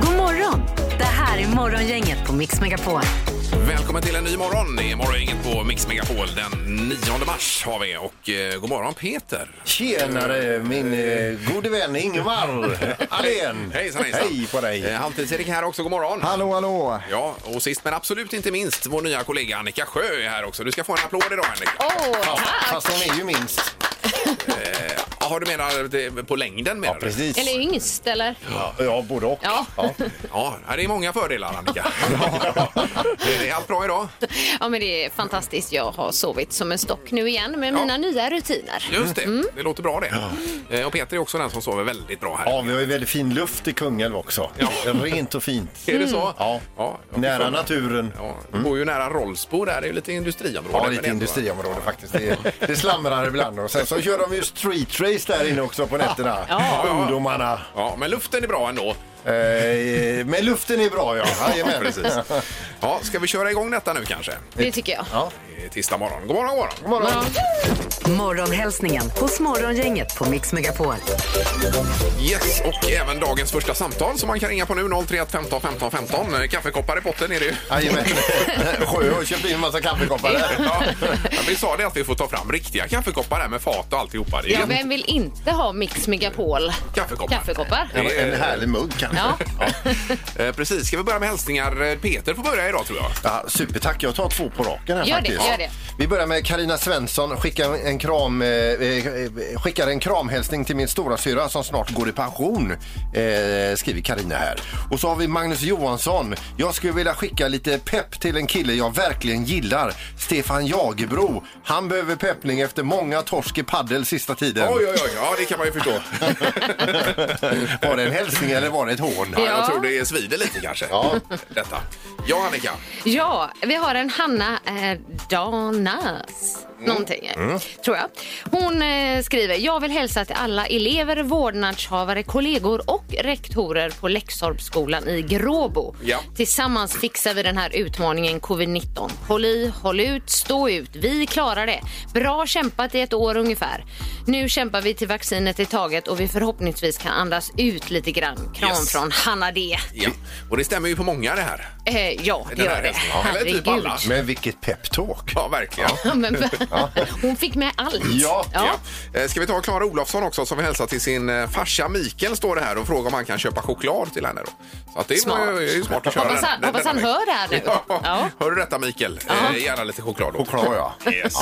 God morgon! Det här är Morgongänget på Mix Megapol. Välkommen till en ny morgon. Det är morgongänget på Mix Megapol. Den 9 mars har vi och eh, god morgon Peter. Tjenare min eh, gode vän Ingvar Allén. Hejsan, hejsan. Hej på dig. Eh, Halvtids-Erik här också. God morgon. Hallå, hallå! Ja, och sist men absolut inte minst vår nya kollega Annika Sjö är här också. Du ska få en applåd idag Annika. Fast, fast hon är ju minst. Ja, har du menar det- på längden menar du? Precis. Eller yngst, eller? Ja, ja, både och. Ja. Ja, det är många fördelar Annika. Ja. Det är allt bra idag? ja, men det är fantastiskt. Jag har sovit som en stock nu igen med Ja. mina nya rutiner. Just det, det låter bra det. Eh, Och Peter är också den som sover väldigt bra här. Ja, vi har ju väldigt fin luft i Kungälv också. Rent och fint. Är det så? Mm. Ja. ja jag Nära förstår. naturen. Ja, det går ju nära Rollsbo där, det är ju lite industriområde. Ja, men lite det är ändå- industriområde faktiskt. Det, är- det slamrar ibland. Och sen så kör de ju street race där inne också på nätterna. Ungdomarna. Ja, men luften är bra ändå. Eh, men luften är bra ja. Jajamän. Precis. Ja, ska vi köra igång detta nu kanske? Det tycker jag. Ja. Det är Tisdag morgon. God morgon, god morgon. God morgon. Morgonhälsningen hos Morgongänget på Mix Megapol. Yes, och även dagens första samtal som man kan ringa på nu. 031 15 15 15. Eh, Kaffekoppar i potten är det ju. Jajamän. Sjö har köpt in en massa kaffekoppar där. Ja, men vi sa det att vi får ta fram riktiga kaffekoppar här med fat och alltihopa. Det är Ja, ju vem vill inte ha Mix Megapol kaffekoppar. kaffekoppar? Det är- En härlig mugg kanske. Eh, Ja. Eh, Precis, ska vi börja med hälsningar? Eh, Peter får börja idag tror jag. Ja, supertack, jag tar två på raken här Gör det, faktiskt. gör det. Vi börjar med Karina Svensson, skickar en, kram, eh, eh, skickar en kramhälsning till min stora syra som snart går i pension, eh, skriver Karina här. Och så har vi Magnus Johansson, jag skulle vilja skicka lite pepp till en kille jag verkligen gillar, Stefan Jagerbro. Han behöver peppning efter många torsk i paddel sista tiden. Oj, oj, oj. Ja, det kan man ju förstå. Var det en hälsning eller var det ett hån? Ja, jag Ja. tror det svider lite kanske. Ja. Detta. Ja, Annika. Ja, vi har en Hanna eh, Danas. Mm. Någonting, eh, tror jag. Hon eh, skriver, jag vill hälsa till alla elever, vårdnadshavare, kollegor och rektorer på Läxorpsskolan i Gråbo. Ja. Tillsammans fixar vi den här utmaningen covid-19. Håll i, håll ut, stå ut. Vi klarar det. Bra kämpat i ett år ungefär. Nu kämpar vi till vaccinet i taget och vi förhoppningsvis kan andas ut lite grann. Kram Yes. från Hanna D. Ja. Och det stämmer ju på många det här. Eh, ja, det Den här gör det. hälsningen. Ja, eller typ alla. Men vilket pepptalk! Ja, verkligen. Ja, men, hon fick med allt. Ja, Ja. Eh, Ska vi ta Klara Olofsson också som vill hälsa till sin eh, farsa Mikael står det här och frågar om han kan köpa choklad till henne. Då. Så att det Smart. är ju- är ju smart att köra Hoppas den- han- den- hoppas denna han väg. hör det här nu. Ja. Ja. Hör du detta Mikael? Eh, Gärna lite choklad. då. Choklad ja. Yes.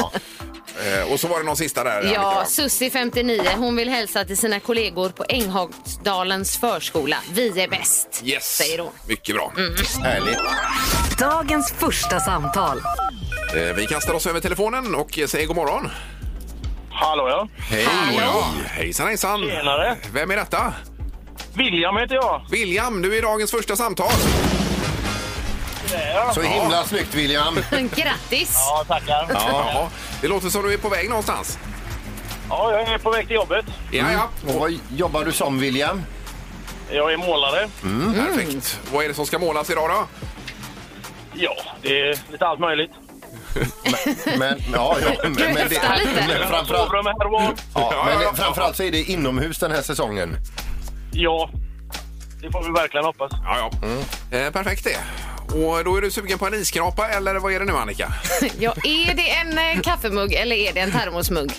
Eh, Och så var det någon sista där. Annika, Ja, va? Susi 59, hon vill hälsa till sina kollegor på Änghagsdalens förskola. Vi är bäst, Yes. säger hon. Mm. Mycket bra. Härligt. Dagens första samtal. Eh, Vi kastar oss över telefonen och eh, säger god morgon. Hallå ja. Hej! Ja, hejsan hejsan. Tjenare. Vem är detta? William heter jag. William, du är dagens första samtal. Så himla snyggt William! Men Grattis! Ja, tackar. Ja. Jaha. Det låter som du är på väg någonstans. jag är på väg till jobbet. Ja, ja. Och vad jobbar du som William? Jag är målare. Perfekt. Vad är det som ska målas idag då? Ja, det är lite allt möjligt. Men, ja, ja, men, Kan du men, häfta lite? men, framförallt, Sovrum här och var. ja, Ja, men ja, ja. framförallt så är det inomhus den här säsongen. Ja, det får vi verkligen hoppas. Ja, ja. Eh, perfekt det. Och då är du sugen på en iskrapa eller vad är det nu Annika? Ja, är det en eh, kaffemugg eller är det en termosmugg?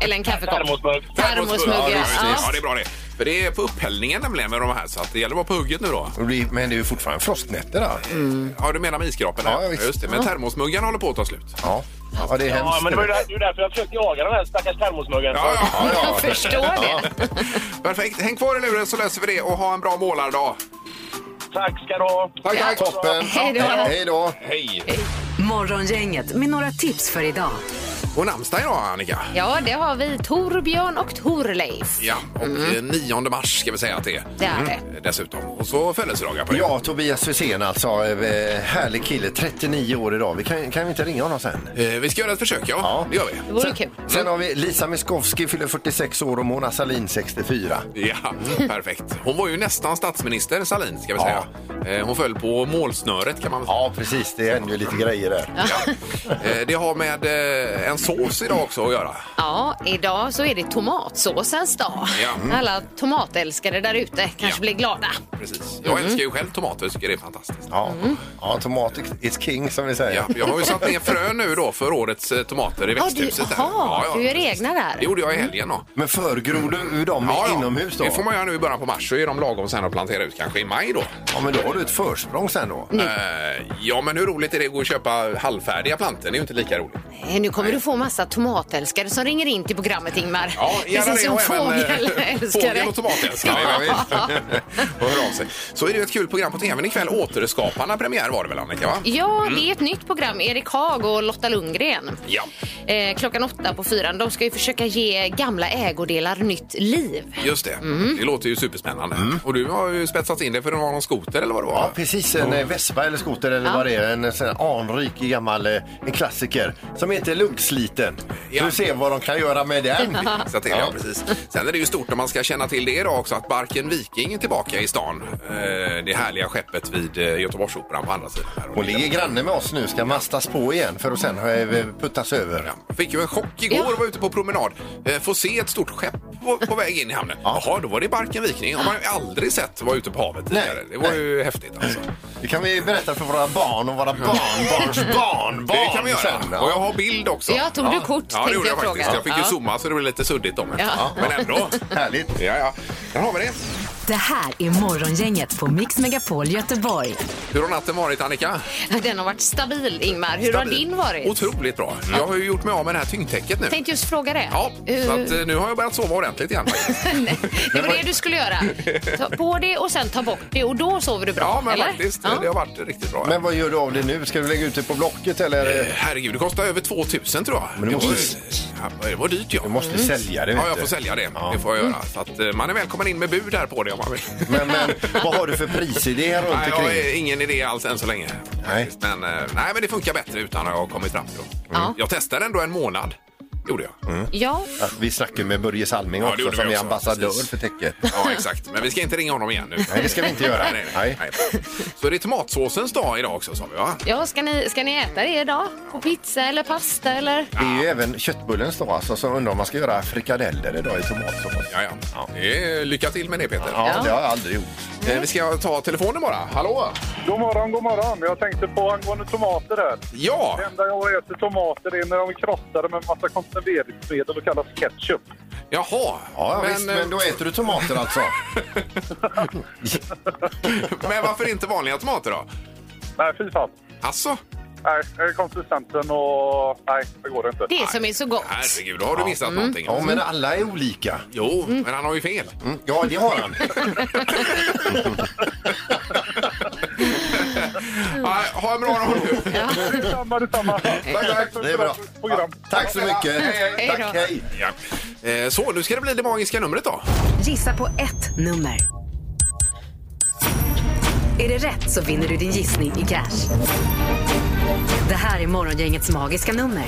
Eller en kaffekopp? Termosmugg. Termosmugg, Ja, ja. just det. ja, det är bra det. För det är på upphällningen nämligen med de här så att det gäller att vara på hugget nu då. Och det- Men det är ju fortfarande frostnätter där. Ja, du menar med iskrapen? här? Ja, visst. just det. Men termosmuggarna håller på att ta slut. Ja. ja, det är Ja, hemskt. men det var ju där- det är ju därför jag försökte jaga den här stackars termosmuggen. Ja, ja. Jag förstår det. Perfekt. Häng kvar i luren så löser vi det och ha en bra målardag. Tack ska du ha. Tack, tack. Toppen! Hej då. Hej då! Hej! Morgongänget med några tips för idag. Och namnsdag idag, Annika. Ja, det har vi Torbjörn och Torleif. Ja, och eh, 9 mars ska vi säga att det är. Mm. Det är Mm, Dessutom. Och så födelsedagar på det. Ja, Tobias Hysén alltså. eh, Härlig kille, 39 år idag. Vi kan, kan vi inte ringa honom sen? Eh, Vi ska göra ett försök, ja. Ja. Det gör vi. Det vore kul. Sen har vi Lisa Miskovsky, fyller 46 år och Mona Sahlin 64. Ja, Mm. perfekt. Hon var ju nästan statsminister, Salin, ska vi säga. Eh, Hon föll på målsnöret kan man väl säga. Ja, precis. Det händer ju lite grejer där. Eh, Det har med eh, en sås idag också att göra. Ja, idag så är det tomatsåsens dag. Ja. Mm. Alla tomatälskare där ute kanske Ja. blir glada. Precis. Mm. Jag älskar ju själv tomater, jag tycker det är fantastiskt. Ja, ja tomat is king som vi säger. Ja, jag har ju satt ner frön nu då för årets eh, tomater i Ja, du, växthuset. här. aha, du gör precis. egna Mm. där. Det gjorde jag i helgen då. Men förgror du ur dem inomhus då? Det får man göra nu i början på mars. Så är de lagom sen att plantera ut kanske i maj då. Ja, men då har du ett försprång sen då. Eh, Ja, men hur roligt är det att gå och köpa halvfärdiga plantor? Det är ju inte lika roligt. Eh, Nu kommer du få massa tomatälskare som ringer in till programmet, Ingmar. Ja, gärna Precis som det. Och även, eh, fågelälskare. Fågel och tomatälskare. ja, visst. och hör av sig. Så är det ju ett kul program på tvn ikväll. Återskaparna premiär var det väl Annika? Va? Ja, det är ett nytt program. Erik Haag och Lotta Lundgren. Mm. Ja. Eh, klockan åtta på fyran. De ska ju försöka ge gamla ägodelar nytt liv. Just det. Det låter ju superspännande. Och du har ju spetsat in det för det var någon skoter eller vad det var? Ja, precis. En eh, vespa eller skoter eller vad det är. En sån här anrik gammal eh, en klassiker som heter luggsliten. Ja. Du ser vad de kan göra med den. Så till, ja. precis. Sen är det ju stort om man ska känna till det idag också att Barken Viking är tillbaka i stan. Eh, Det härliga skeppet vid eh, Göteborgsoperan på andra sidan. Här. Hon ligger granne med oss nu, ska mastas på igen för att sen eh, puttas över. Ja, Fick ju en chock igår Ja. var ute på promenad. Eh, Få se ett stort skepp på, på väg in i hamnen. Jaha, då var det Barken Viking. har man ju aldrig sett vara ute på havet tidigare. Det var ju häftigt alltså. Det kan vi berätta för våra barn och våra barnbarns barnbarn Det kan vi göra. sen. Och jag Ja. har bild också. Ja, tog du kort, Ja, det tänkte jag gjorde jag faktiskt. fråga. Jag fick ju Ja. zooma så det blev lite suddigt om det. Ja. Men ändå. Härligt. Ja, ja. Där har vi det. Det här är Morgongänget på Mix Megapol Göteborg. Hur har natten varit, Annika? Den har varit stabil, Ingmar. Hur har Stabil. din varit? Otroligt bra. Jag har ju gjort mig av med det här tyngdtäcket nu. Tänkte just fråga det. Ja, så Eh, att, eh, nu har jag börjat sova ordentligt igen. faktiskt. nej, det var det du skulle göra. Ta på det och sen ta bort det och då sover du bra, Ja, men eller? faktiskt. Ja. Det har varit riktigt bra. Men vad gör du av det nu? Ska du lägga ut det på Blocket eller? Eh, Herregud, det kostar över 2000 tror jag. Men det måste- var, ja, det var dyrt ja. Du måste sälja det. vet Ja, jag du. får sälja det. Ja. Det får jag göra. Så att, eh, man är välkommen in med bud här på det om man vill. Men, men vad har du för prisidéer runt Nej, jag omkring? har ingen idé alls än så länge. Nej. Men, eh, nej, men det funkar bättre utan att jag har kommit fram till. det. Ja. Jag testade ändå en månad. Gjorde jag. Mm. Ja, Att vi snackar med Börje Salming Ja, det också gjorde som vi är också. ambassadör Precis. för täcket. Ja, exakt. Men vi ska inte ringa honom igen nu. Nej, det ska vi inte göra. Nej, nej, nej. Så det är tomatsåsens dag idag också, sa vi va? ja ska, ni, ska ni äta det idag? På pizza eller pasta eller? Det är ju även köttbullens dag, alltså, så undrar om man ska göra frikadeller idag i tomatsås. Ja, ja. Det är- Lycka till med det, Peter. Ja, det har jag aldrig gjort. Eh, Vi ska ta telefonen bara. Hallå? God morgon, god morgon. Jag tänkte på angående tomater där. Ja! Det enda jag äter tomater är när de är krossade med massa konserveringsmedel och kallas ketchup. Jaha. Ja, men, visst, eh, men då äter du tomater alltså? men varför inte vanliga tomater då? Nej, fy fan. Alltså, Nej, det är konsistensen och... Nej, det går inte. Det som är så gott. herregud, då har du missat någonting. Ja, men alla är olika. Jo, men han har ju fel. Mm, Ja, det har han. Ja, ha en bra dag nu. Detsamma, detsamma. Tack, tack. Det är bra. Program. Tack så mycket. Hej Tack, då. hej. Ja. Eh, Så, nu ska det bli det magiska numret då. Gissa på ett nummer. Är det rätt så vinner du din gissning i cash. Det här är Morgongängets magiska nummer.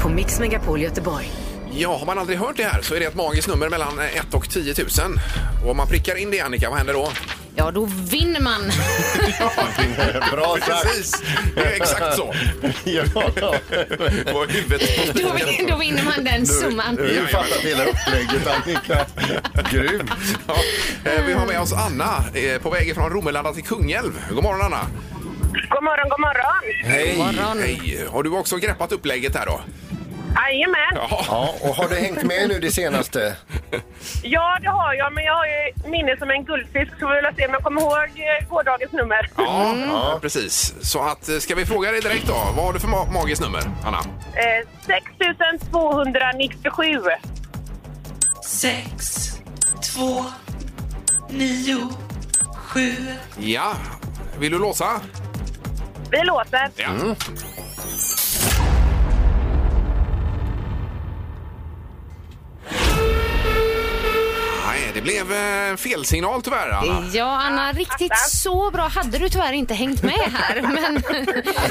På Mix Megapol Göteborg. Ja, har man aldrig hört det här så är det ett magiskt nummer mellan 1 och 10 000. Och om man prickar in det, Annika, vad händer då? Ja, då vinner man. Bra sagt. Precis, det är exakt så. Ja. På huvudet. Då, vin- då vinner man den summan. Du har ju fattat hela upplägget, Annika. Grymt. Ja. Eh, Vi har med oss Anna eh, på väg från Romelanda till Kungälv. God morgon, Anna. God morgon, god morgon. Hej. morgon. Hej. Har du också greppat upplägget här då? Jajamän. Ja. Ja. Ja, och har du hängt med nu det senaste? det har jag, men jag har ju minne som en guldfisk så vi vill se om jag kommer ihåg eh, gårdagens nummer. Ja, Mm. ja, precis. Så att, eh, ska vi fråga dig direkt då? Vad har du för ma- magiskt nummer, Anna? Eh, 6297. sex, två, nio, sju. Ja. Vill du låsa? Mm. Vi låter. Ja. det blev eh, felsignal tyvärr, Anna. Ja, Anna, riktigt så bra hade du tyvärr inte hängt med här. Men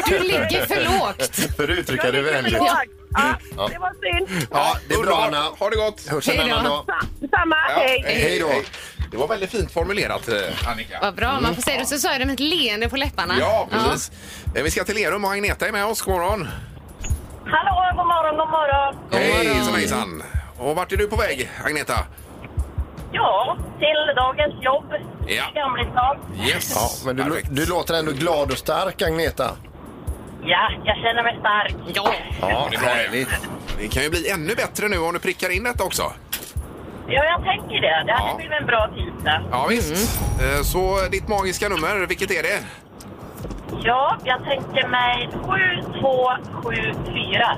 du ligger för lågt. För att uttrycka det vänligt. Ja. Det var synd. Ja, det är bra Underbart. Anna. Ha det gott! Hörs en Hej då. annan dag. Samma, hej. Eh, Hej då. Det var väldigt fint formulerat, eh, Annika. Vad bra, man får säga det. Så sa jag det med ett leende på läpparna. Ja, precis. Eh, Vi ska till Lerum och Agneta är med oss. God morgon! Hallå, god morgon, god morgon. Hejsan hejsan! Och vart är du på väg, Agneta? Ja, till dagens jobb Ja. i Gamlestad. Yes! Ja, men du, Perfekt. du låter ändå glad och stark, Agneta. Ja, jag känner mig stark. Ja. Ja, det är bra. härligt. Det kan ju bli ännu bättre nu om du prickar in detta också. Ja, jag tänker det. Det hade Ja. blivit en bra tisdag. Ja, visst. Eh, Så ditt magiska nummer, vilket är det? Ja, jag tänker mig 7274.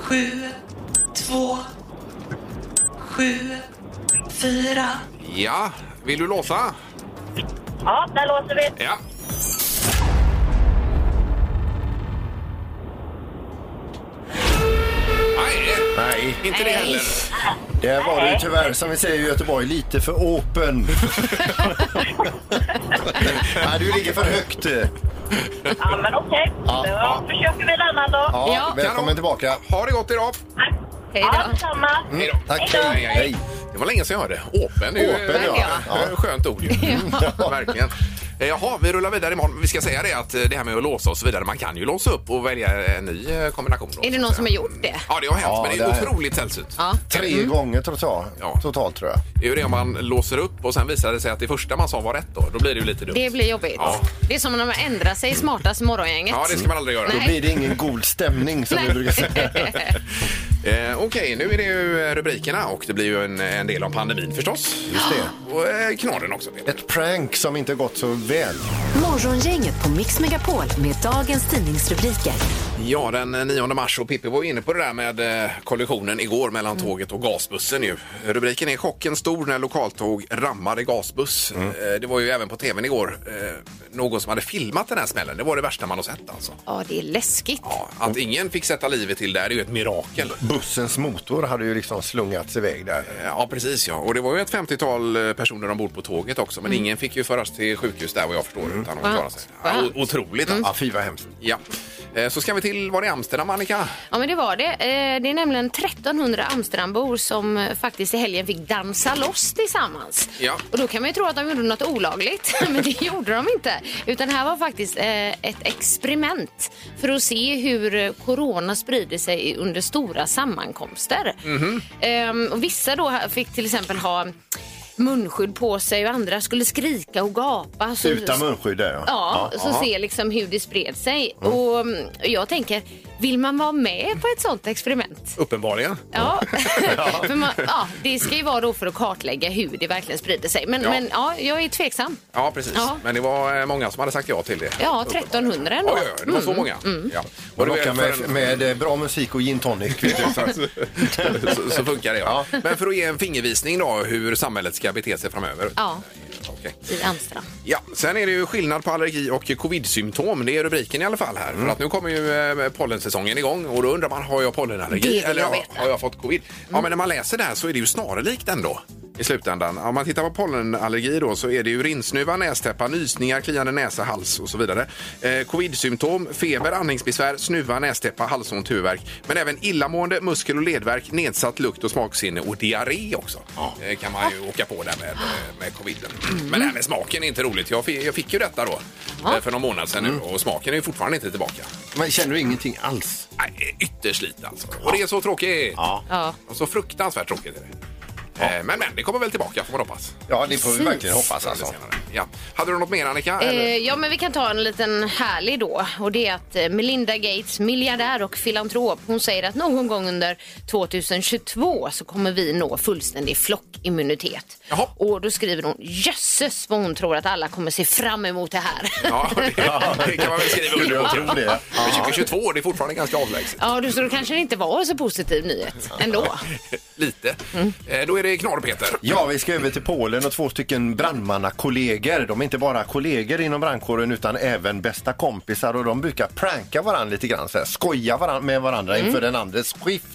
sju, två, sju, fyra. Ja. Vill du låsa? Ja, där låser vi. Ja. Nej, Nej, inte det Nej. heller. det var det ju tyvärr, som vi säger i Göteborg, lite för open. Nej, du ligger för högt. Ja, men okej. Ja, Då försöker vi en annan dag. Ja, Ja. välkommen tillbaka. Ha det gott idag! Hej Ja, då. detsamma. Hej då. Tack, Hej då. Mm, hej. hej. Det var länge sedan jag hörde. Åpen, det är ju Open, ja. Ja. ja. Skönt ord ju. Verkligen. Eh, Jaha, vi rullar vidare imorgon. Vi ska säga det att eh, det här med att låsa och så vidare, man kan ju låsa upp och välja en ny eh, kombination. Då, Är det så någon att som har säga. gjort det? Ja, det har hänt, Ja, men det är det här- otroligt sällsynt. Ja. Tre gånger totalt, Mm. Ja. totalt tror jag. Det är ju det om man låser upp och sen visar det sig att det första man sa var rätt då. Då blir det ju lite dumt. Det blir jobbigt. Ja. Det är som när man ändrar sig i smartaste morgongänget. Ja, det ska man aldrig göra. Nej. Då blir det ingen god stämning som vi brukar säga. Eh, Okej, nu är det ju eh, rubrikerna och det blir ju en, en del om pandemin förstås. Just det. Och eh, knorren också. Ett prank som inte gått så väl. Morgongänget på Mix Megapol med dagens tidningsrubriker. Ja, den eh, 9 mars och Pippi var ju inne på det där med eh, kollisionen igår mellan tåget och gasbussen ju. Rubriken är chocken stor när lokaltåg rammade gasbuss. Eh, Det var ju även på tvn igår eh, någon som hade filmat den här smällen. Det var det värsta man har sett alltså. Ja, det är läskigt. Ja, att ingen fick sätta livet till där är ju ett mirakel. Bussens motor hade ju liksom slungats iväg där. Mm. Ja, precis. ja. Och Det var ju ett 50-tal personer ombord på tåget också men ingen fick ju föras till sjukhus där vad jag förstår. Utan de klarade sig. Ja, o- otroligt alltså. Ja, fy vad hemskt. Ja. Eh, Så ska vi till, var det Amsterdam Annika? Ja, men det var det. Eh, Det är nämligen 1300 Amsterdambor som eh, faktiskt i helgen fick dansa loss tillsammans. Ja. Och då kan man ju tro att de gjorde något olagligt, men det gjorde de inte. Utan det här var faktiskt eh, ett experiment för att se hur eh, corona sprider sig under stora sammankomster. Mhm. Ehm, och vissa då ha- fick till exempel ha munskydd på sig och andra skulle skrika och gapa. Så- Utan munskydd där ja. Ja, så se liksom hur det spred sig. Och mm, jag tänker, vill man vara med på ett sånt experiment? Uppenbarligen. Ja, för man, ja det ska ju vara då för att kartlägga hur det verkligen sprider sig. Men Ja. ja, men, ja jag är tveksam. Ja, precis. Ja. Men det var eh, många som hade sagt ja till det. Ja, 1300 ändå. Oj, oj, oj, det var Mm. så många. Ja. Och det var för locka med, en- med eh, bra musik och gin tonic. Vet du. Så- så, så funkar det, ja. Men för att ge en fingervisning då hur samhället ska bete sig framöver. Ja, Okej. i Amsterdam. Ja, sen är det ju skillnad på allergi och covid-symptom. Det är rubriken i alla fall här. Mm. För att nu kommer ju eh, pollensäsongen igång och då undrar man, har jag Det pollenallergi vill jag eller har, veta. har jag fått covid? Ja, men när man läser det här så är det ju snarlikt ändå i slutändan. Om man tittar på pollenallergi då så är det ju rinsnuva, nästäppa, nysningar, kliande näsa, hals och så vidare. Eh, covid-symptom, feber, andningsbesvär, snuva, nästäppa, halsont, huvudvärk. Men även illamående, muskel och ledvärk, nedsatt lukt och smaksinne och diarré också. Eh, kan man ju åka på där med, eh, med coviden. Men det här med smaken är inte roligt. Jag fick, jag fick ju detta då eh, för någon månad sedan nu och smaken är ju fortfarande inte tillbaka. Men känner du ingenting alls? Nej, ytterst lite alltså. Och det är så tråkigt. Ja. Och så fruktansvärt tråkigt är det. Eh, Men, men det kommer väl tillbaka får man hoppas. Ja, det får vi Precis. verkligen hoppas alltså. Senare. Ja. Hade du något mer Annika? Eh, eller? ja, men vi kan ta en liten härlig då. Och det är att eh, Melinda Gates, miljardär och filantrop, hon säger att någon gång under 2022 så kommer vi nå fullständig flockimmunitet. Jaha. Och då skriver hon, jösses vad hon tror att alla kommer se fram emot det här. Ja, det, det kan man väl skriva under på. Jag tror det. Men 2022, det är fortfarande ganska avlägset. Ja, du, så då kanske det inte var så positiv nyhet ändå. Lite. Eh, Då är det knorr, Peter. Ja, vi ska över till Polen och två stycken brandmannakollegor. De är inte bara kollegor inom brandkåren utan även bästa kompisar och de brukar pranka varandra lite grann, så här, skoja varan- med varandra inför den andres skift.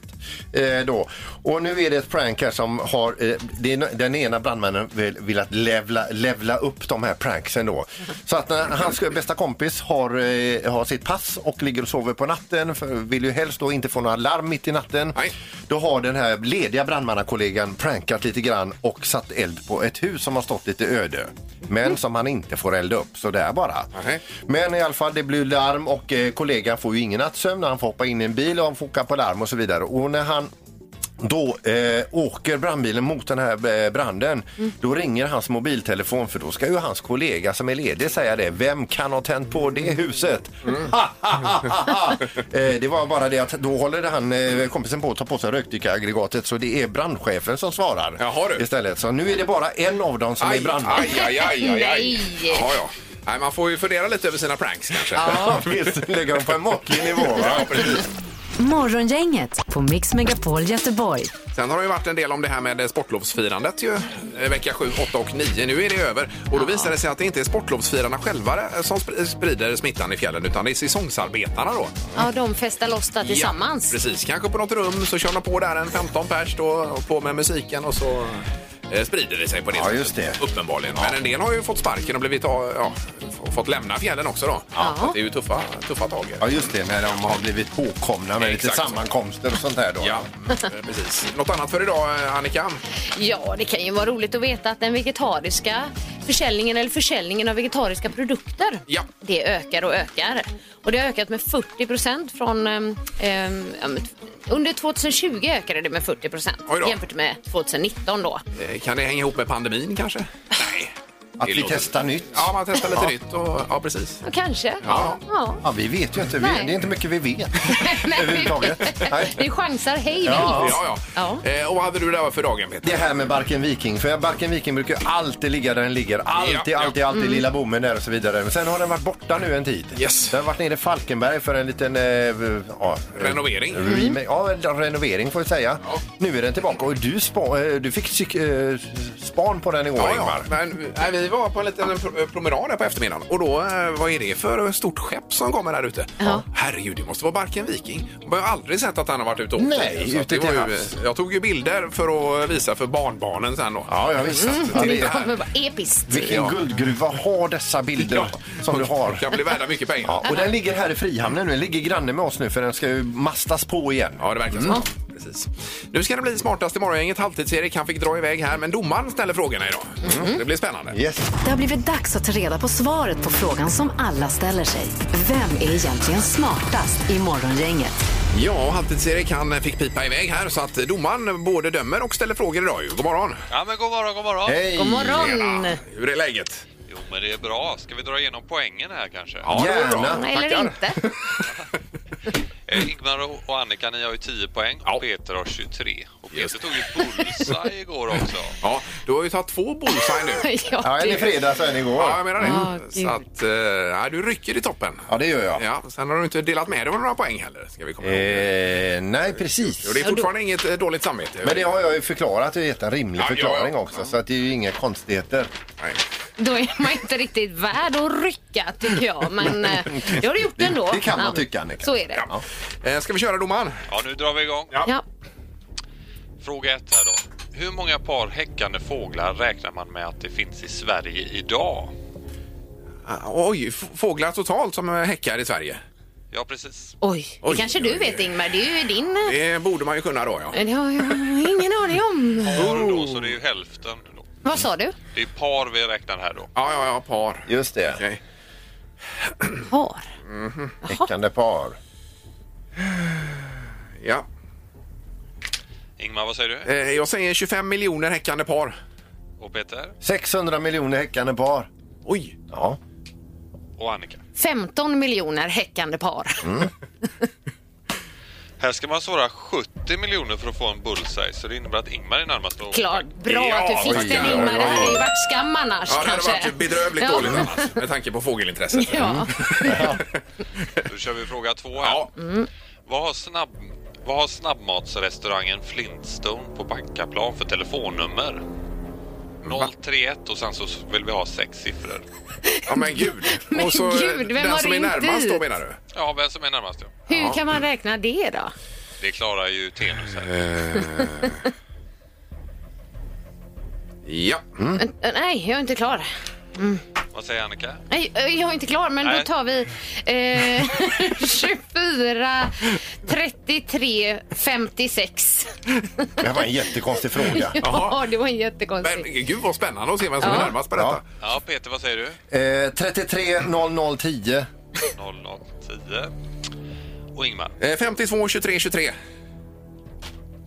Eh, då. Och nu är det ett prank här som har, eh, det är, den ena brandmännen vill, vill att levla, levla upp de här pranksen då. Så att när hans bästa kompis har, eh, har sitt pass och ligger och sover på natten, för vill ju helst då inte få några larm mitt i natten. Då har den här lediga brandmannakollegan prankat lite grann och satt eld på ett hus som har stått lite öde. Men som han inte får elda upp, så där bara. Men i alla fall, det blir larm och eh, kollegan får ju ingen nattsömn. Han får hoppa in i en bil och han får åka på larm och så vidare. Och när han då eh, åker brandbilen mot den här eh, branden. Då ringer hans mobiltelefon för då ska ju hans kollega som är ledig säga det. Vem kan ha tänt på det huset? eh, det var bara det att då håller han, eh, kompisen på att ta på sig rökdykaraggregatet så det är brandchefen som svarar istället. Så nu är det bara en av dem som är Aj, brandman. aj, aj, aj, aj, aj. Ja, ja. Nej, man får ju fundera lite över sina pranks kanske. Ja, visst. Lägga dem på en måttlig nivå. Ja, precis. Morgongänget på Mix Megapol Göteborg. Sen har det ju varit en del om det här med sportlovsfirandet ju. Eh, Vecka 7, 8 och 9. Nu är det över. Och då visar det sig att det inte är sportlovsfirarna själva eh, som sp- sprider smittan i fjällen utan det är säsongsarbetarna då. Ja, de festar loss där Ja, tillsammans. precis. Kanske på något rum så kör de på där en 15 pers då och på med musiken och så eh, sprider det sig på det ja, just det. uppenbarligen. Men en del har ju fått sparken och blivit, av- ja, f- fått lämna fjällen också då. Ja. Så att det är ju tuffa, tuffa tag. Ja, just det. När de har blivit påkomna med lite Exakt så. sammankomster och sånt där då. Ja, eh, precis. Något annat för idag, eh, Annika? Ja, det kan ju vara roligt att veta att den vegetariska försäljningen eller försäljningen av vegetariska produkter, det ökar och ökar. Och det har ökat med 40 procent från... ehm, ehm, ja, men under 2020 ökade det med 40 procent Oj då. jämfört med 2019 då. Eh, Kan det hänga ihop med pandemin kanske? Nej. Att vi testar nytt. Ja, man testar lite Ja. nytt. Och, ja, precis. Ja, kanske. Ja. ja. Ja, vi vet ju inte. Vi, Nej. det är inte mycket vi vet överhuvudtaget. Nej. Vi chansar hej Ja. vilt. Ja, Eh, och vad hade du där för dagen, Peter? Det här med Barken Viking, för Barken Viking brukar ju alltid ligga där den ligger. Alltid, alltid, alltid. Mm. Lilla bommen där och så vidare. Men sen har den varit borta nu en tid. Yes. Den har varit nere i Falkenberg för en liten... Eh, ja, Renovering. remake- Ja, en renovering får vi säga. Nu är den tillbaka och du, spa, eh, du fick psyk, eh, span på den igår, Ja, ja. Ingmar. Men, nej, vi var på en liten pro- eh, promenad här på eftermiddagen och då, eh, vad är det för stort skepp som kommer där ute? Ja. Herregud, det måste vara Barken Viking. Jag har aldrig sett att han har varit ute och åkt. Nej, Så att ute det var till ju, havs. Jag tog ju bilder för att visa för barnbarnen sen då. Ja, ja, visst. Mm, Ja, det Det kommer vara episkt. Vilken Ja. guldgruva har dessa bilder som du har? kan bli värda mycket pengar. Ja, och den ligger här i Frihamnen nu. Den ligger granne med oss nu för den ska ju mastas på igen. Ja, det verkar så. Precis. Nu ska det bli smartast i morgongänget. Halvtids-Erik han fick dra iväg här, men domaren ställer frågorna idag. Mm. Det blir spännande. Det har blivit dags att ta reda på svaret på frågan som alla ställer sig. Vem är egentligen smartast i Morgongänget? Ja, och Halvtids-Erik han fick pipa iväg här så att domaren både dömer och ställer frågor idag. ju. God morgon! Ja men god morgon, god morgon. Hej. God morgon. Tjena. Hur är läget? Jo men det är bra. Ska vi dra igenom poängen här kanske? Ja, det är bra. Gärna. Eller Tackar. inte. Eh, Ingmar och- och Annika ni har ju 10 poäng och Peter har 23. Och Peter tog ju bullseye igår också. Ja, du har ju tagit två bullseye nu. Ja, Ja, en i gud. fredags och en igår. Ja, jag menar det. Ja, så att, eh, ja, du rycker i toppen. Ja, det gör jag. Ja, sen har du inte delat med dig av några poäng heller. Ska vi komma ihåg. Eh, nej, precis. Och det är fortfarande inget eh, dåligt samvete. Men det har jag ju förklarat och gett en rimlig Ja, ja, ja. förklaring också. Så att det är ju inga konstigheter. Då är man inte riktigt värd att rycka tycker jag. Men eh, det har du gjort ändå. Ja, Så är det. Eh, Ska vi köra domaren? Ja, nu drar vi igång. Ja. Fråga ett här då. Hur många par häckande fåglar räknar man med att det finns i Sverige idag? Ah, Oj, f- fåglar totalt som eh, häckar i Sverige. Ja, precis. Oj, det Oj, kanske du vet Ingmar. Det är ju din... eh, Det borde man ju kunna då, ja. Det har jag ingen aning om. Par då, så det är Oh. ju hälften. Då. Vad sa du? Det är par vi räknar här då. Ja, ja, ja, par. Just det. Par? Häckande par. Ja. Ingmar, vad säger du? Eh, Jag säger 25 miljoner häckande par. Och Peter? 600 miljoner häckande par. Oj! Ja. Och Annika? 15 miljoner häckande par. Här ska man svara 70 miljoner för att få en bullseye, så det innebär att Ingmar är närmast och... Klart, bra Ja, att du oj, fick den oj, Ingmar. oj, Det här oj. är ju vart skam annars Ja, det hade kanske. varit bedrövligt Ja. dåligt annars med tanke på fågelintresset. Ja. Då kör vi fråga två här. Vad, har snabb... Vad har snabbmatsrestaurangen Flintstone på Backaplan för telefonnummer? 031 och sen så vill vi ha sex siffror. Ja, men gud! Men Och så eh, gud, vem den har som är ringt närmast då ut? menar du? Ja, vem som är närmast ja. Hur kan man räkna det då? Det klarar ju Tenus här. Ja. Eh, Nej, jag är inte klar. Mm. Vad säger Annika? Nej, eh, jag är inte klar, men Nej. då tar vi eh, 24, 33, 56. Det här var en jättekonstig fråga. Ja, det var en jättekonstig. Gud vad spännande att se vem som är Ja. närmast på detta. Ja, Peter, vad säger du? Eh, 33 00 10. 0010. Och Ingmar? Eh, 52, 23, 23.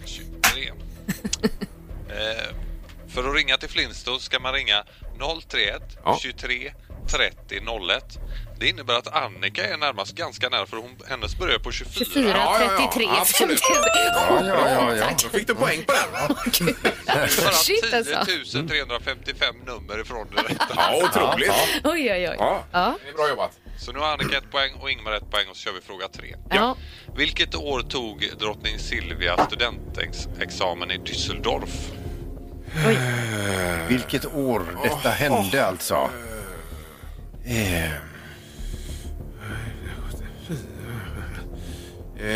23. eh, för att ringa till Flintstones ska man ringa 031 23 30 01. Det innebär att Annika är närmast ganska nära för hon, hennes börjar på 24. 4, 33, 56. Då fick du poäng på den. Shit, Bara alltså. 10 355 nummer ifrån det rätta. Ja, otroligt. Oj, oj, oj. Ja. Ja. Det är bra jobbat. Så nu har Annika ett poäng och Ingmar ett poäng och så kör vi fråga tre. Ja. Vilket år tog drottning Silvia studentexamen i Düsseldorf? Eh, Vilket år detta hände alltså. Eh, Eh,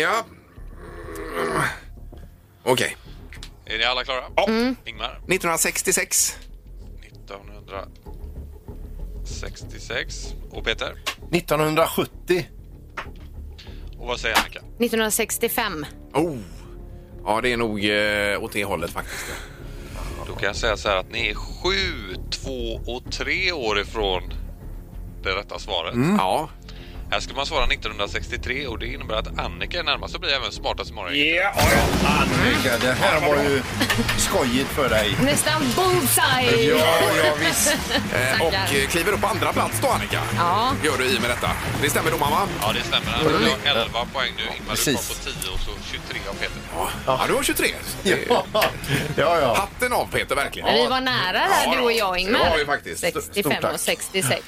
ja. Mm. Okej. Är ni alla klara? Ja. Mm. Ingmar? 1966. 1966. Och Peter? 1970. Och vad säger Annika? 1965. Oh. Ja, det är nog eh, åt det hållet faktiskt. Då kan jag säga så här att ni är sju, två och tre år ifrån det rätta svaret. Mm. Ja. Här ska man svara 1963 och det innebär att Annika är närmast och blir även smartast morgon. Annika, det här var ju skojigt för dig. Nästan bullseye! Eh, och eh, kliver upp på andra plats då, Annika. Ja. Gör du i med detta. Det stämmer då, mamma? Ja, det stämmer. Han Mm. har 11 poäng nu. Ingmar du Precis. på 10 och så 23 av Peter. Ja, du har 23. Ja. Hatten av, Peter, verkligen. Men vi var nära där, du och jag, Ingmar. Det var vi faktiskt. 65 och 66.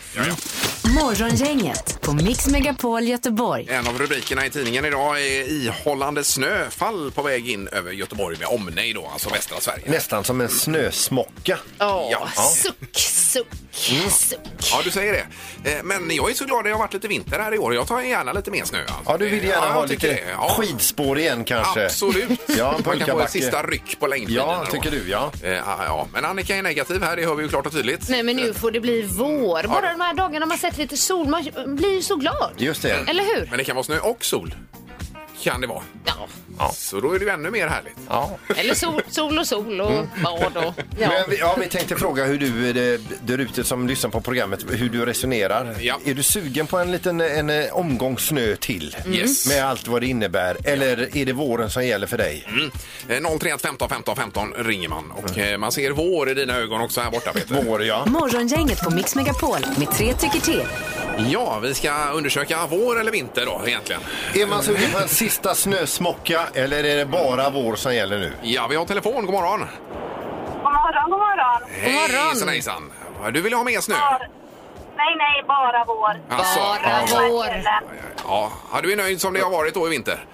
Morgongänget på Mix Megapol Göteborg. En av rubrikerna i tidningen idag är ihållande snöfall på väg in över Göteborg med omnejd då, alltså västra Sverige. Nästan som en snösmocka. Ja. Mm. Suck, suck, suck. Ja, du säger det. Eh, Men jag är så glad att det har varit lite vinter här i år. Jag tar gärna lite mer snö. Alltså. Ja, du vill gärna jag ha tycker lite det. Ja. skidspår igen kanske? Absolut. Ja, Man kan få pulkabacke. ett sista ryck på längdskidorna. Ja, då. tycker du ja. Eh, Ja, ja. Men Annika är negativ här, det hör vi ju klart och tydligt. Nej, men nu får det bli vår. Bara de här dagarna man sett lite sol, man blir ju så glad. Just det. Eller hur? Men det kan vara snö och sol. Kan det vara. Ja. Så då är det ju ännu mer härligt. Ja. Eller sol, sol och sol och Mm. bad och... Ja. Men vi, ja, vi tänkte fråga hur du eh, där ute som lyssnar på programmet, hur du resonerar. Är du sugen på en liten en, eh, omgång snö till? Mm. Yes. Med allt vad det innebär. Eller är det våren som gäller för dig? Mm. Eh, 031 15 15 15 ringer man. Och eh, man ser vår i dina ögon också här borta, Peter. Vår, ja. Morgongänget på Mix Megapol med tre tycker till. Ja, vi ska undersöka vår eller vinter då egentligen. Är man sugen på en sista snösmocka eller är det bara vår som gäller nu? Ja, vi har telefon. God morgon. God morgon, god morgon. Hejsan, hejsan. Du vill ha mer snö? Nej, nej, bara vår. Alltså, Bara ja. vår. Ja, Ja. ja, du är nöjd som det har varit då i vinter?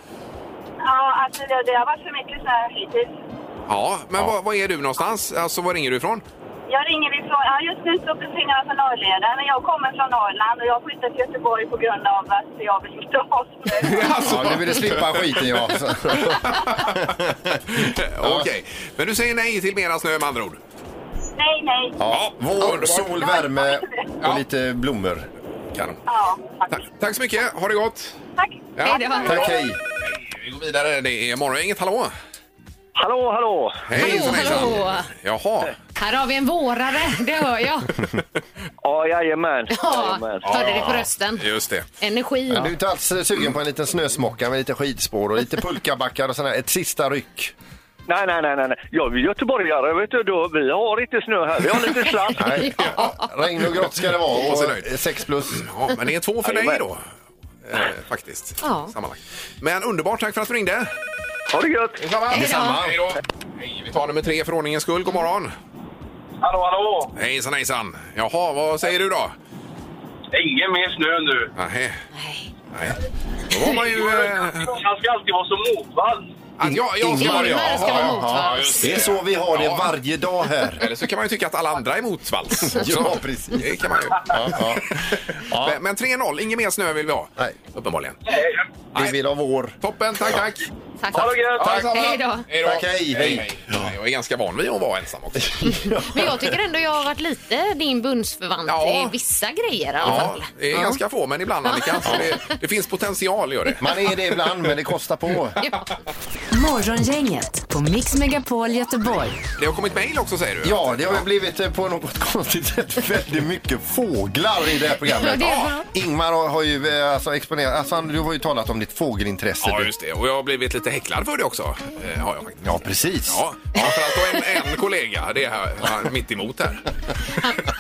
alltså det, det har varit för mycket snö hittills. Ja, men Var, var är du någonstans? Alltså, var ringer du ifrån? Jag ringer ifrån, ja just nu så befinner jag mig på Norrleden, men jag kommer från Norrland och jag flyttade till Göteborg på grund av att jag vill inte ha snö. Ja, du ville slippa skiten ja. Okej, men du säger nej till mera snö med andra ord? Nej, nej. Ja, vår, Underbart. sol, värme och lite blommor. Kanon. Ja, tack. Tack så mycket. Ha det gott. Tack. Ja. Hej då. Tack, hej. Vi går vidare. Det är Morgongänget. Hallå! Hallå, hallå! Hejsan, hejsan. Hallå! Jaha. Här har vi en vårare, det hör jag. Ja, jajamän. Ja, hörde det på rösten. Just det. Energi. Men Du är inte alls eh, sugen på en liten snösmocka med lite skidspår och lite pulkabackar och sådär. Ett sista ryck. Nej, nej, nej, nej. nej. Jag är göteborgare, vet du. Då, vi har inte snö här. Vi har lite slask. Nej. Regn och grått ska det vara. Och så Och sex plus. Ja, men det är två för dig Jajamän. då. Eh, faktiskt. Ja. Sammanlagt. Men underbart, tack för att du ringde. Ha det gött! Detsamma. Hej då. Hej då. Hej, vi tar nummer tre för ordningens skull. God morgon. Hallå, hallå! Hejsan, hejsan. Jaha, vad säger du då? Ingen mer snö nu. Nej. Nej. Då var man ju... Eh, Han ska alltid vara så motvall. att jag, jag ska Ingmar, vara det. ja. Ja, ska vara ja, motvalls. ja, just Det är så vi har det varje dag här. Eller så kan man ju tycka att alla andra är motvalls. Ja, precis. Det kan man ju. Men, men 3-0, inget mer snö vill vi ha. Nej. Uppenbarligen. Vi vill ha vår. Toppen, tack, tack. Tack. Ha det gött. Tack. Hej då. Hej då. Tack, hej, hej. Ja, Jag är ganska van vid att vara ensam också. Men jag tycker ändå jag har varit lite din bundsförvant Ja. i vissa grejer i alla Ja, fall. det är ganska få, men ibland Annika. Så det, det finns potential, gör det. Man är det ibland, men det kostar på. Morgongänget på Mix Megapol Göteborg. Det har kommit mejl också, säger du? Ja, det har ju blivit eh, på något konstigt sätt väldigt mycket fåglar i det här Ja, programmet. det är bra. Ingmar har- har ju eh, alltså, exponerat, alltså, han- du har ju talat om ditt fågelintresse. Ja, just det. Och jag har blivit lite häcklad för det också. Eh, har jag faktiskt. Ja, precis. Ja, ja för att då en, en kollega, det är här, här, mitt emot här.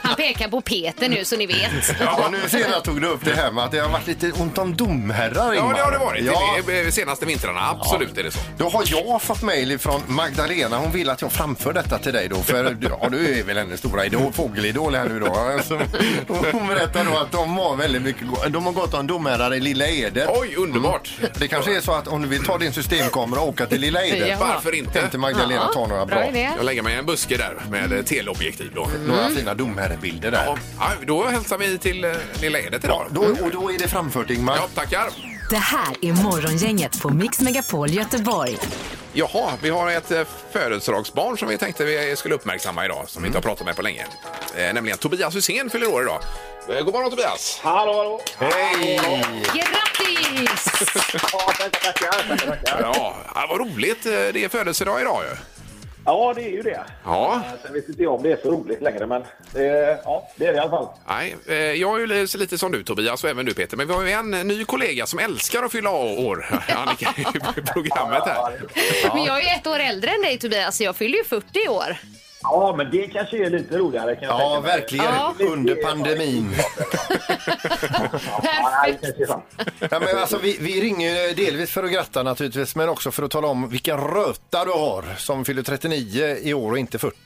Han pekar på Peter nu så ni vet. Ja, nu senast tog du upp det här med att det har varit lite ont om domherrar, Ja, Ingmar. det har det varit. Ja. Det är, eh, senaste vintrarna, absolut är det så. Då har jag fått mejl från Magdalena. Hon vill att jag framför detta till dig då. För du- ja, du är väl hennes stora idol, fågelidol här nu då. Alltså, hon berättar då att de har väldigt mycket, go- de har gått om domherrar i Lilla Edet. Oj, underbart! Mm. Det kanske är så att om du vill ta din systemkamera och åka till Lilla Edet. Ja. Varför inte? Tänkte Magdalena Ja, ta några bra bra. idé. Mm. Jag lägger mig i en buske där med eh, teleobjektiv då. Några fina domherrebilder där. Ja, ja, då hälsar vi till eh, Lilla Edet idag. Då, och då är det framfört Ingmar. Ja, tackar. Det här är Morgongänget på Mix Megapol Göteborg. Jaha, vi har ett eh, födelsedagsbarn som vi tänkte vi skulle uppmärksamma idag, som vi inte har pratat med på länge. Eh, nämligen Tobias Hysén fyller år idag. Eh, god morgon Tobias! Hallå, hallå! Hej! Grattis! Ja, tackar, tackar, tackar, tackar. Ja, ja, vad roligt. eh, Det är födelsedag idag ju. Ja, det är ju det. Eh, Ja. Sen vet inte jag om det är så roligt längre, men det, ja, det är det i alla fall. Nej, eh, jag är ju li- lite som du Tobias och även du Peter, men vi har ju en eh, ny kollega som älskar att fylla å- år, Annika, i programmet här. Men jag är ju ett år äldre än dig Tobias, så jag fyller ju 40 i år. Ja, men det kanske är lite roligare kan jag Ja, tänka mig. verkligen. Ja. Under pandemin. Ja, nej, det kanske är sant. Ja, men alltså, vi, vi ringer ju delvis för att gratta naturligtvis, men också för att tala om vilken röta du har som fyller 39 i år och inte 40.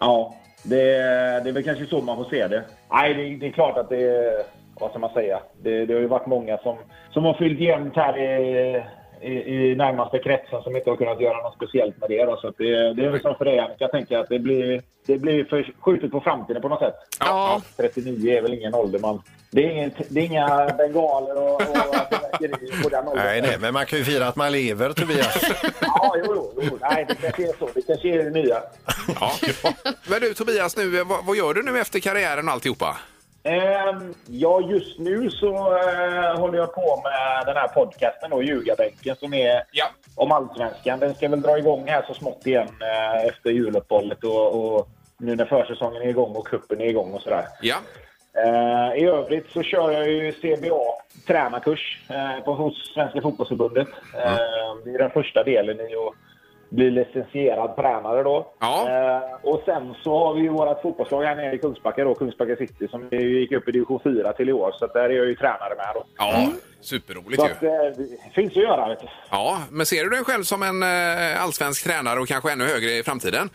Ja, det, det är väl kanske så man får se det. Nej, det, det är klart att det... Vad ska man säga? Det, det har ju varit många som, som har fyllt jämnt här i, i, i närmaste kretsen som inte har kunnat göra något speciellt med det. Då. Så att det, det är väl som för dig, Annika. Jag tänker att det blir, det blir för, skjutet på framtiden på något sätt. Ja. 39 är väl ingen ålder man... Det är, inget, det är inga bengaler och, och fyrverkerier på den åldern. Nej, nej, men man kan ju fira att man lever, Tobias. Ja, jo, jo, jo. Nej, det kanske är så. Det kanske är det nya. Ja. Men du Tobias, nu, eh, vad, vad gör du nu efter karriären och alltihopa? Ehm, ja, just nu så eh, håller jag på med den här podcasten då, Ljugarbänken, som är Ja. om allsvenskan. Den ska väl dra igång här så smått igen eh, efter juluppehållet och, och nu när försäsongen är igång och cupen är igång och sådär. Ja. Eh, I övrigt så kör jag ju CBA, tränarkurs, eh, på, hos Svenska fotbollsförbundet. Eh, det är den första delen i att bli licensierad tränare då. Ja. Eh, och sen så har vi ju vårt fotbollslag här nere i Kungsbacka då, Kungsbacka City, som ju gick upp i division 4 till i år. Så att där är jag ju tränare med då. Ja, superroligt Så ju. att, eh, det finns att göra vet du. Ja, men ser du dig själv som en eh, allsvensk tränare och kanske ännu högre i framtiden?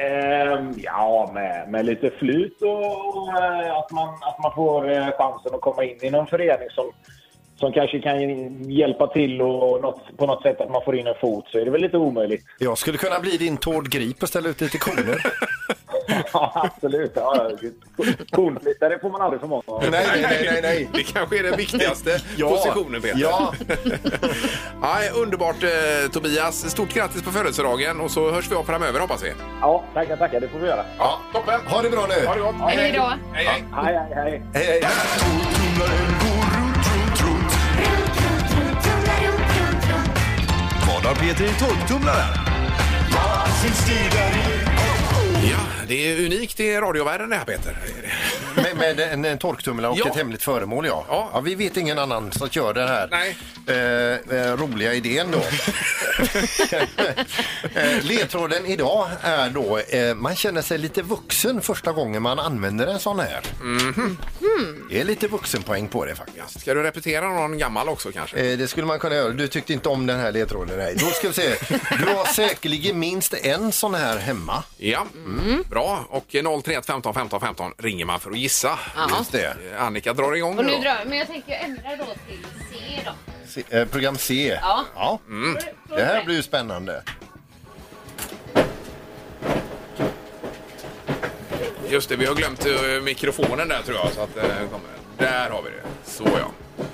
Ehm, ja, med, med lite flyt och, och eh, att, man, att man får eh, chansen att komma in i någon förening som, som kanske kan hjälpa till och, och något, på något sätt att man får in en fot så är det väl lite omöjligt. Jag skulle kunna bli din Tord Grip och ställa ut lite koner. ja, absolut. Ja, gud. Kornflyttare får man aldrig för många av. Nej, nej, nej, nej, nej. Det kanske är den viktigaste Ja. positionen, Peter. Ja. Nej, underbart, eh, Tobias. Stort grattis på födelsedagen och så hörs vi av framöver, hoppas vi. Ja, tackar, tackar. Det får vi göra. Ja, toppen! Ha det bra nu. Ha det gott! Hej då! Hej, hej! Hej, hej, hej. Hej, hej. Vad har Peter i tolvtumlaren? Ja, det är unikt i radiovärlden det här, Peter. Med, med en, en torktumlare och Ja. ett hemligt föremål, ja. Ja. ja. Vi vet ingen annan som gör den här Nej. Eh, eh, roliga idén då. eh, ledtråden idag är då, eh, man känner sig lite vuxen första gången man använder en sån här. Mhm. Mm. Det är lite vuxenpoäng på det faktiskt. Ska du repetera någon gammal också kanske? Eh, Det skulle man kunna göra. Du tyckte inte om den här ledtråden. Nej. Då ska vi se. Du har säkerligen minst en sån här hemma. Ja, Mm. bra. Och 031 15 15 15 ringer man för att gissa. Ja. Just det. Eh, Annika drar igång Och nu nu då. drar, men jag tänker jag ändrar då till C då. C, eh, program C. Mm. Ja. Det här blir ju spännande. Just det, vi har glömt eh, mikrofonen där tror jag. Så att, eh, kommer. Där har vi det. Så ja.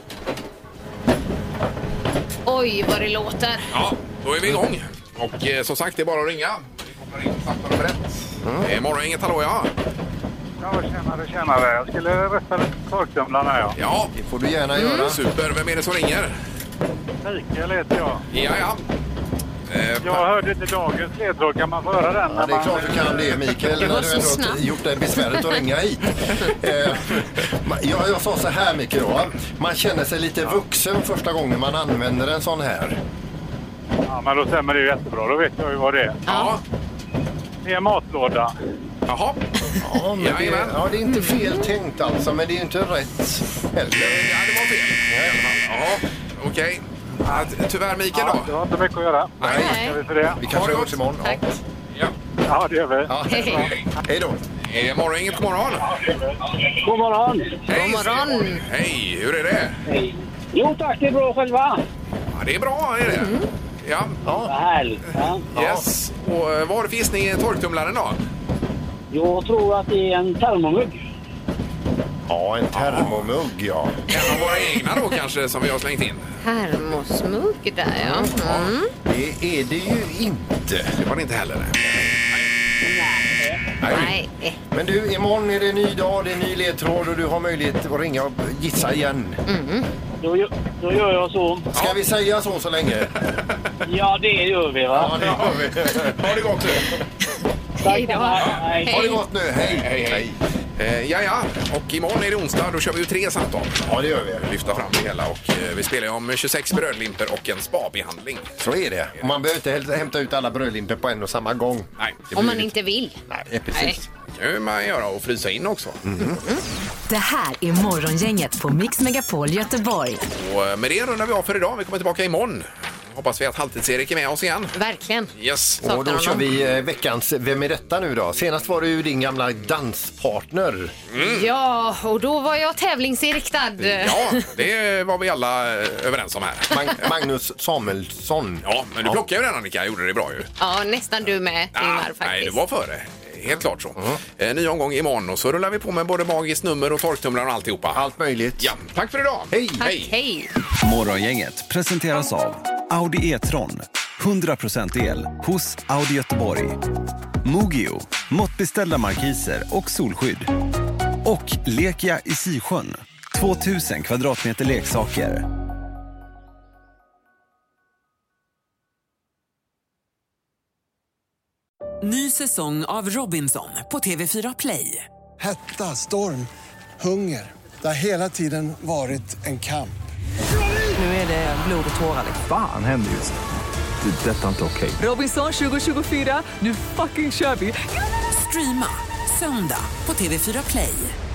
Oj, vad det låter. Ja, då är vi igång. Och eh, som sagt, det är bara att ringa. Vi kopplar Mm. in samtal nummer ett. Eh, morgon, inget hallå ja. Ja, tjenare, tjenare. Jag skulle rösta lite på torktumlarna, ja. Ja, det får du gärna göra. Super, vem är det som ringer? Mikael heter jag. Ja, ja. Eh, Jag hörde inte dagens ledtråd. Kan man få höra den? Ja, det är klart du kan det, Mikael. Det när var du så ändå snabbt. gjort dig besväret att ringa hit. Eh, jag, jag sa så här, Mikael. Då. Man känner sig lite vuxen första gången man använder en sån här. Ja, men då stämmer det ju jättebra. Då vet jag ju vad det är. Ja. Det är en matlåda. Jaha. Ja, men det, ja, det är inte fel tänkt alltså, men det är ju inte rätt heller. Ja, det var fel. i alla fall. Ja, okej. Ja, Tyvärr Mikael då. Det har inte mycket att göra. Nej. Tackar vi för det. Vi kanske hörs imorgon. Tack. Ja, det gör vi. Ja, Hej. Hej då. Eh, morgon, inget morgon. God morgon! Hej, morgon. Hej, hur är det? Jo tack, det är bra själva. Ja, det är bra, är det. Ja. Vad härligt. Ja. Yes. Och eh, vad har du för gissning i torktumlaren då? Jag tror att det är en termomugg. Ja, en termomugg, ja. En av våra egna då kanske som vi har slängt in. Termosmugg där, ja. Mm. Det är det ju inte. Det var det inte heller. Nej. Men du, imorgon är det en ny dag, det är en ny ledtråd och du har möjlighet att ringa och gissa igen. Då, gö- då gör jag så. Ska vi säga så så länge? Ja, det gör vi va? Ja, det gör vi. Ha det gott nu. Hej då. Ha det gott nu. Hej. hej. Eh, ja, ja. Och imorgon är det onsdag. Då kör vi ju tre samtal. Ja, det gör vi. Lyfta fram det hela. Och eh, vi spelar ju om 26 brödlimper och en spabehandling. Så är det. Och man behöver inte helt- hämta ut alla brödlimpor på en och samma gång. Nej. Det Om blir man lite- inte vill. Nej, precis. Det kan ju man göra och frysa in också. Det här är Morgongänget på Mix Megapol Göteborg. Och eh, med det rundar vi av för idag. Vi kommer tillbaka imorgon. Hoppas vi att Halvtids-Erik är med oss igen. Verkligen. Yes. Och då kör vi eh, veckans Vem är detta nu då? Senast var det ju din gamla danspartner. Ja, och då var jag tävlingsinriktad. Ja, det var vi alla eh, överens om här. Mag- Magnus Samuelsson. Ja, men du plockade ju den Annika. Gjorde det bra ju. Ja, nästan du med, Ingmar. nej, det faktiskt. var före. Helt klart så. Eh, Ny omgång imorgon och så rullar vi på med både magiskt nummer och torktumlaren och alltihopa. Allt möjligt. Ja, tack för idag. Tack, hej. Morgongänget presenteras av Audi E-tron. 100% el hos Audi Göteborg. Mogio, måttbeställda markiser och solskydd. Och Lekia i Sisjön, 2000 kvadratmeter leksaker. Ny säsong av Robinson på TV4 Play. Hetta, storm, hunger. Det har hela tiden varit en kamp. Nu är det blod och tårar. liksom. Fan händer just nu. Det. är Detta är inte okej. Robinson 2024, nu fucking kör vi! Streama söndag på TV4 Play.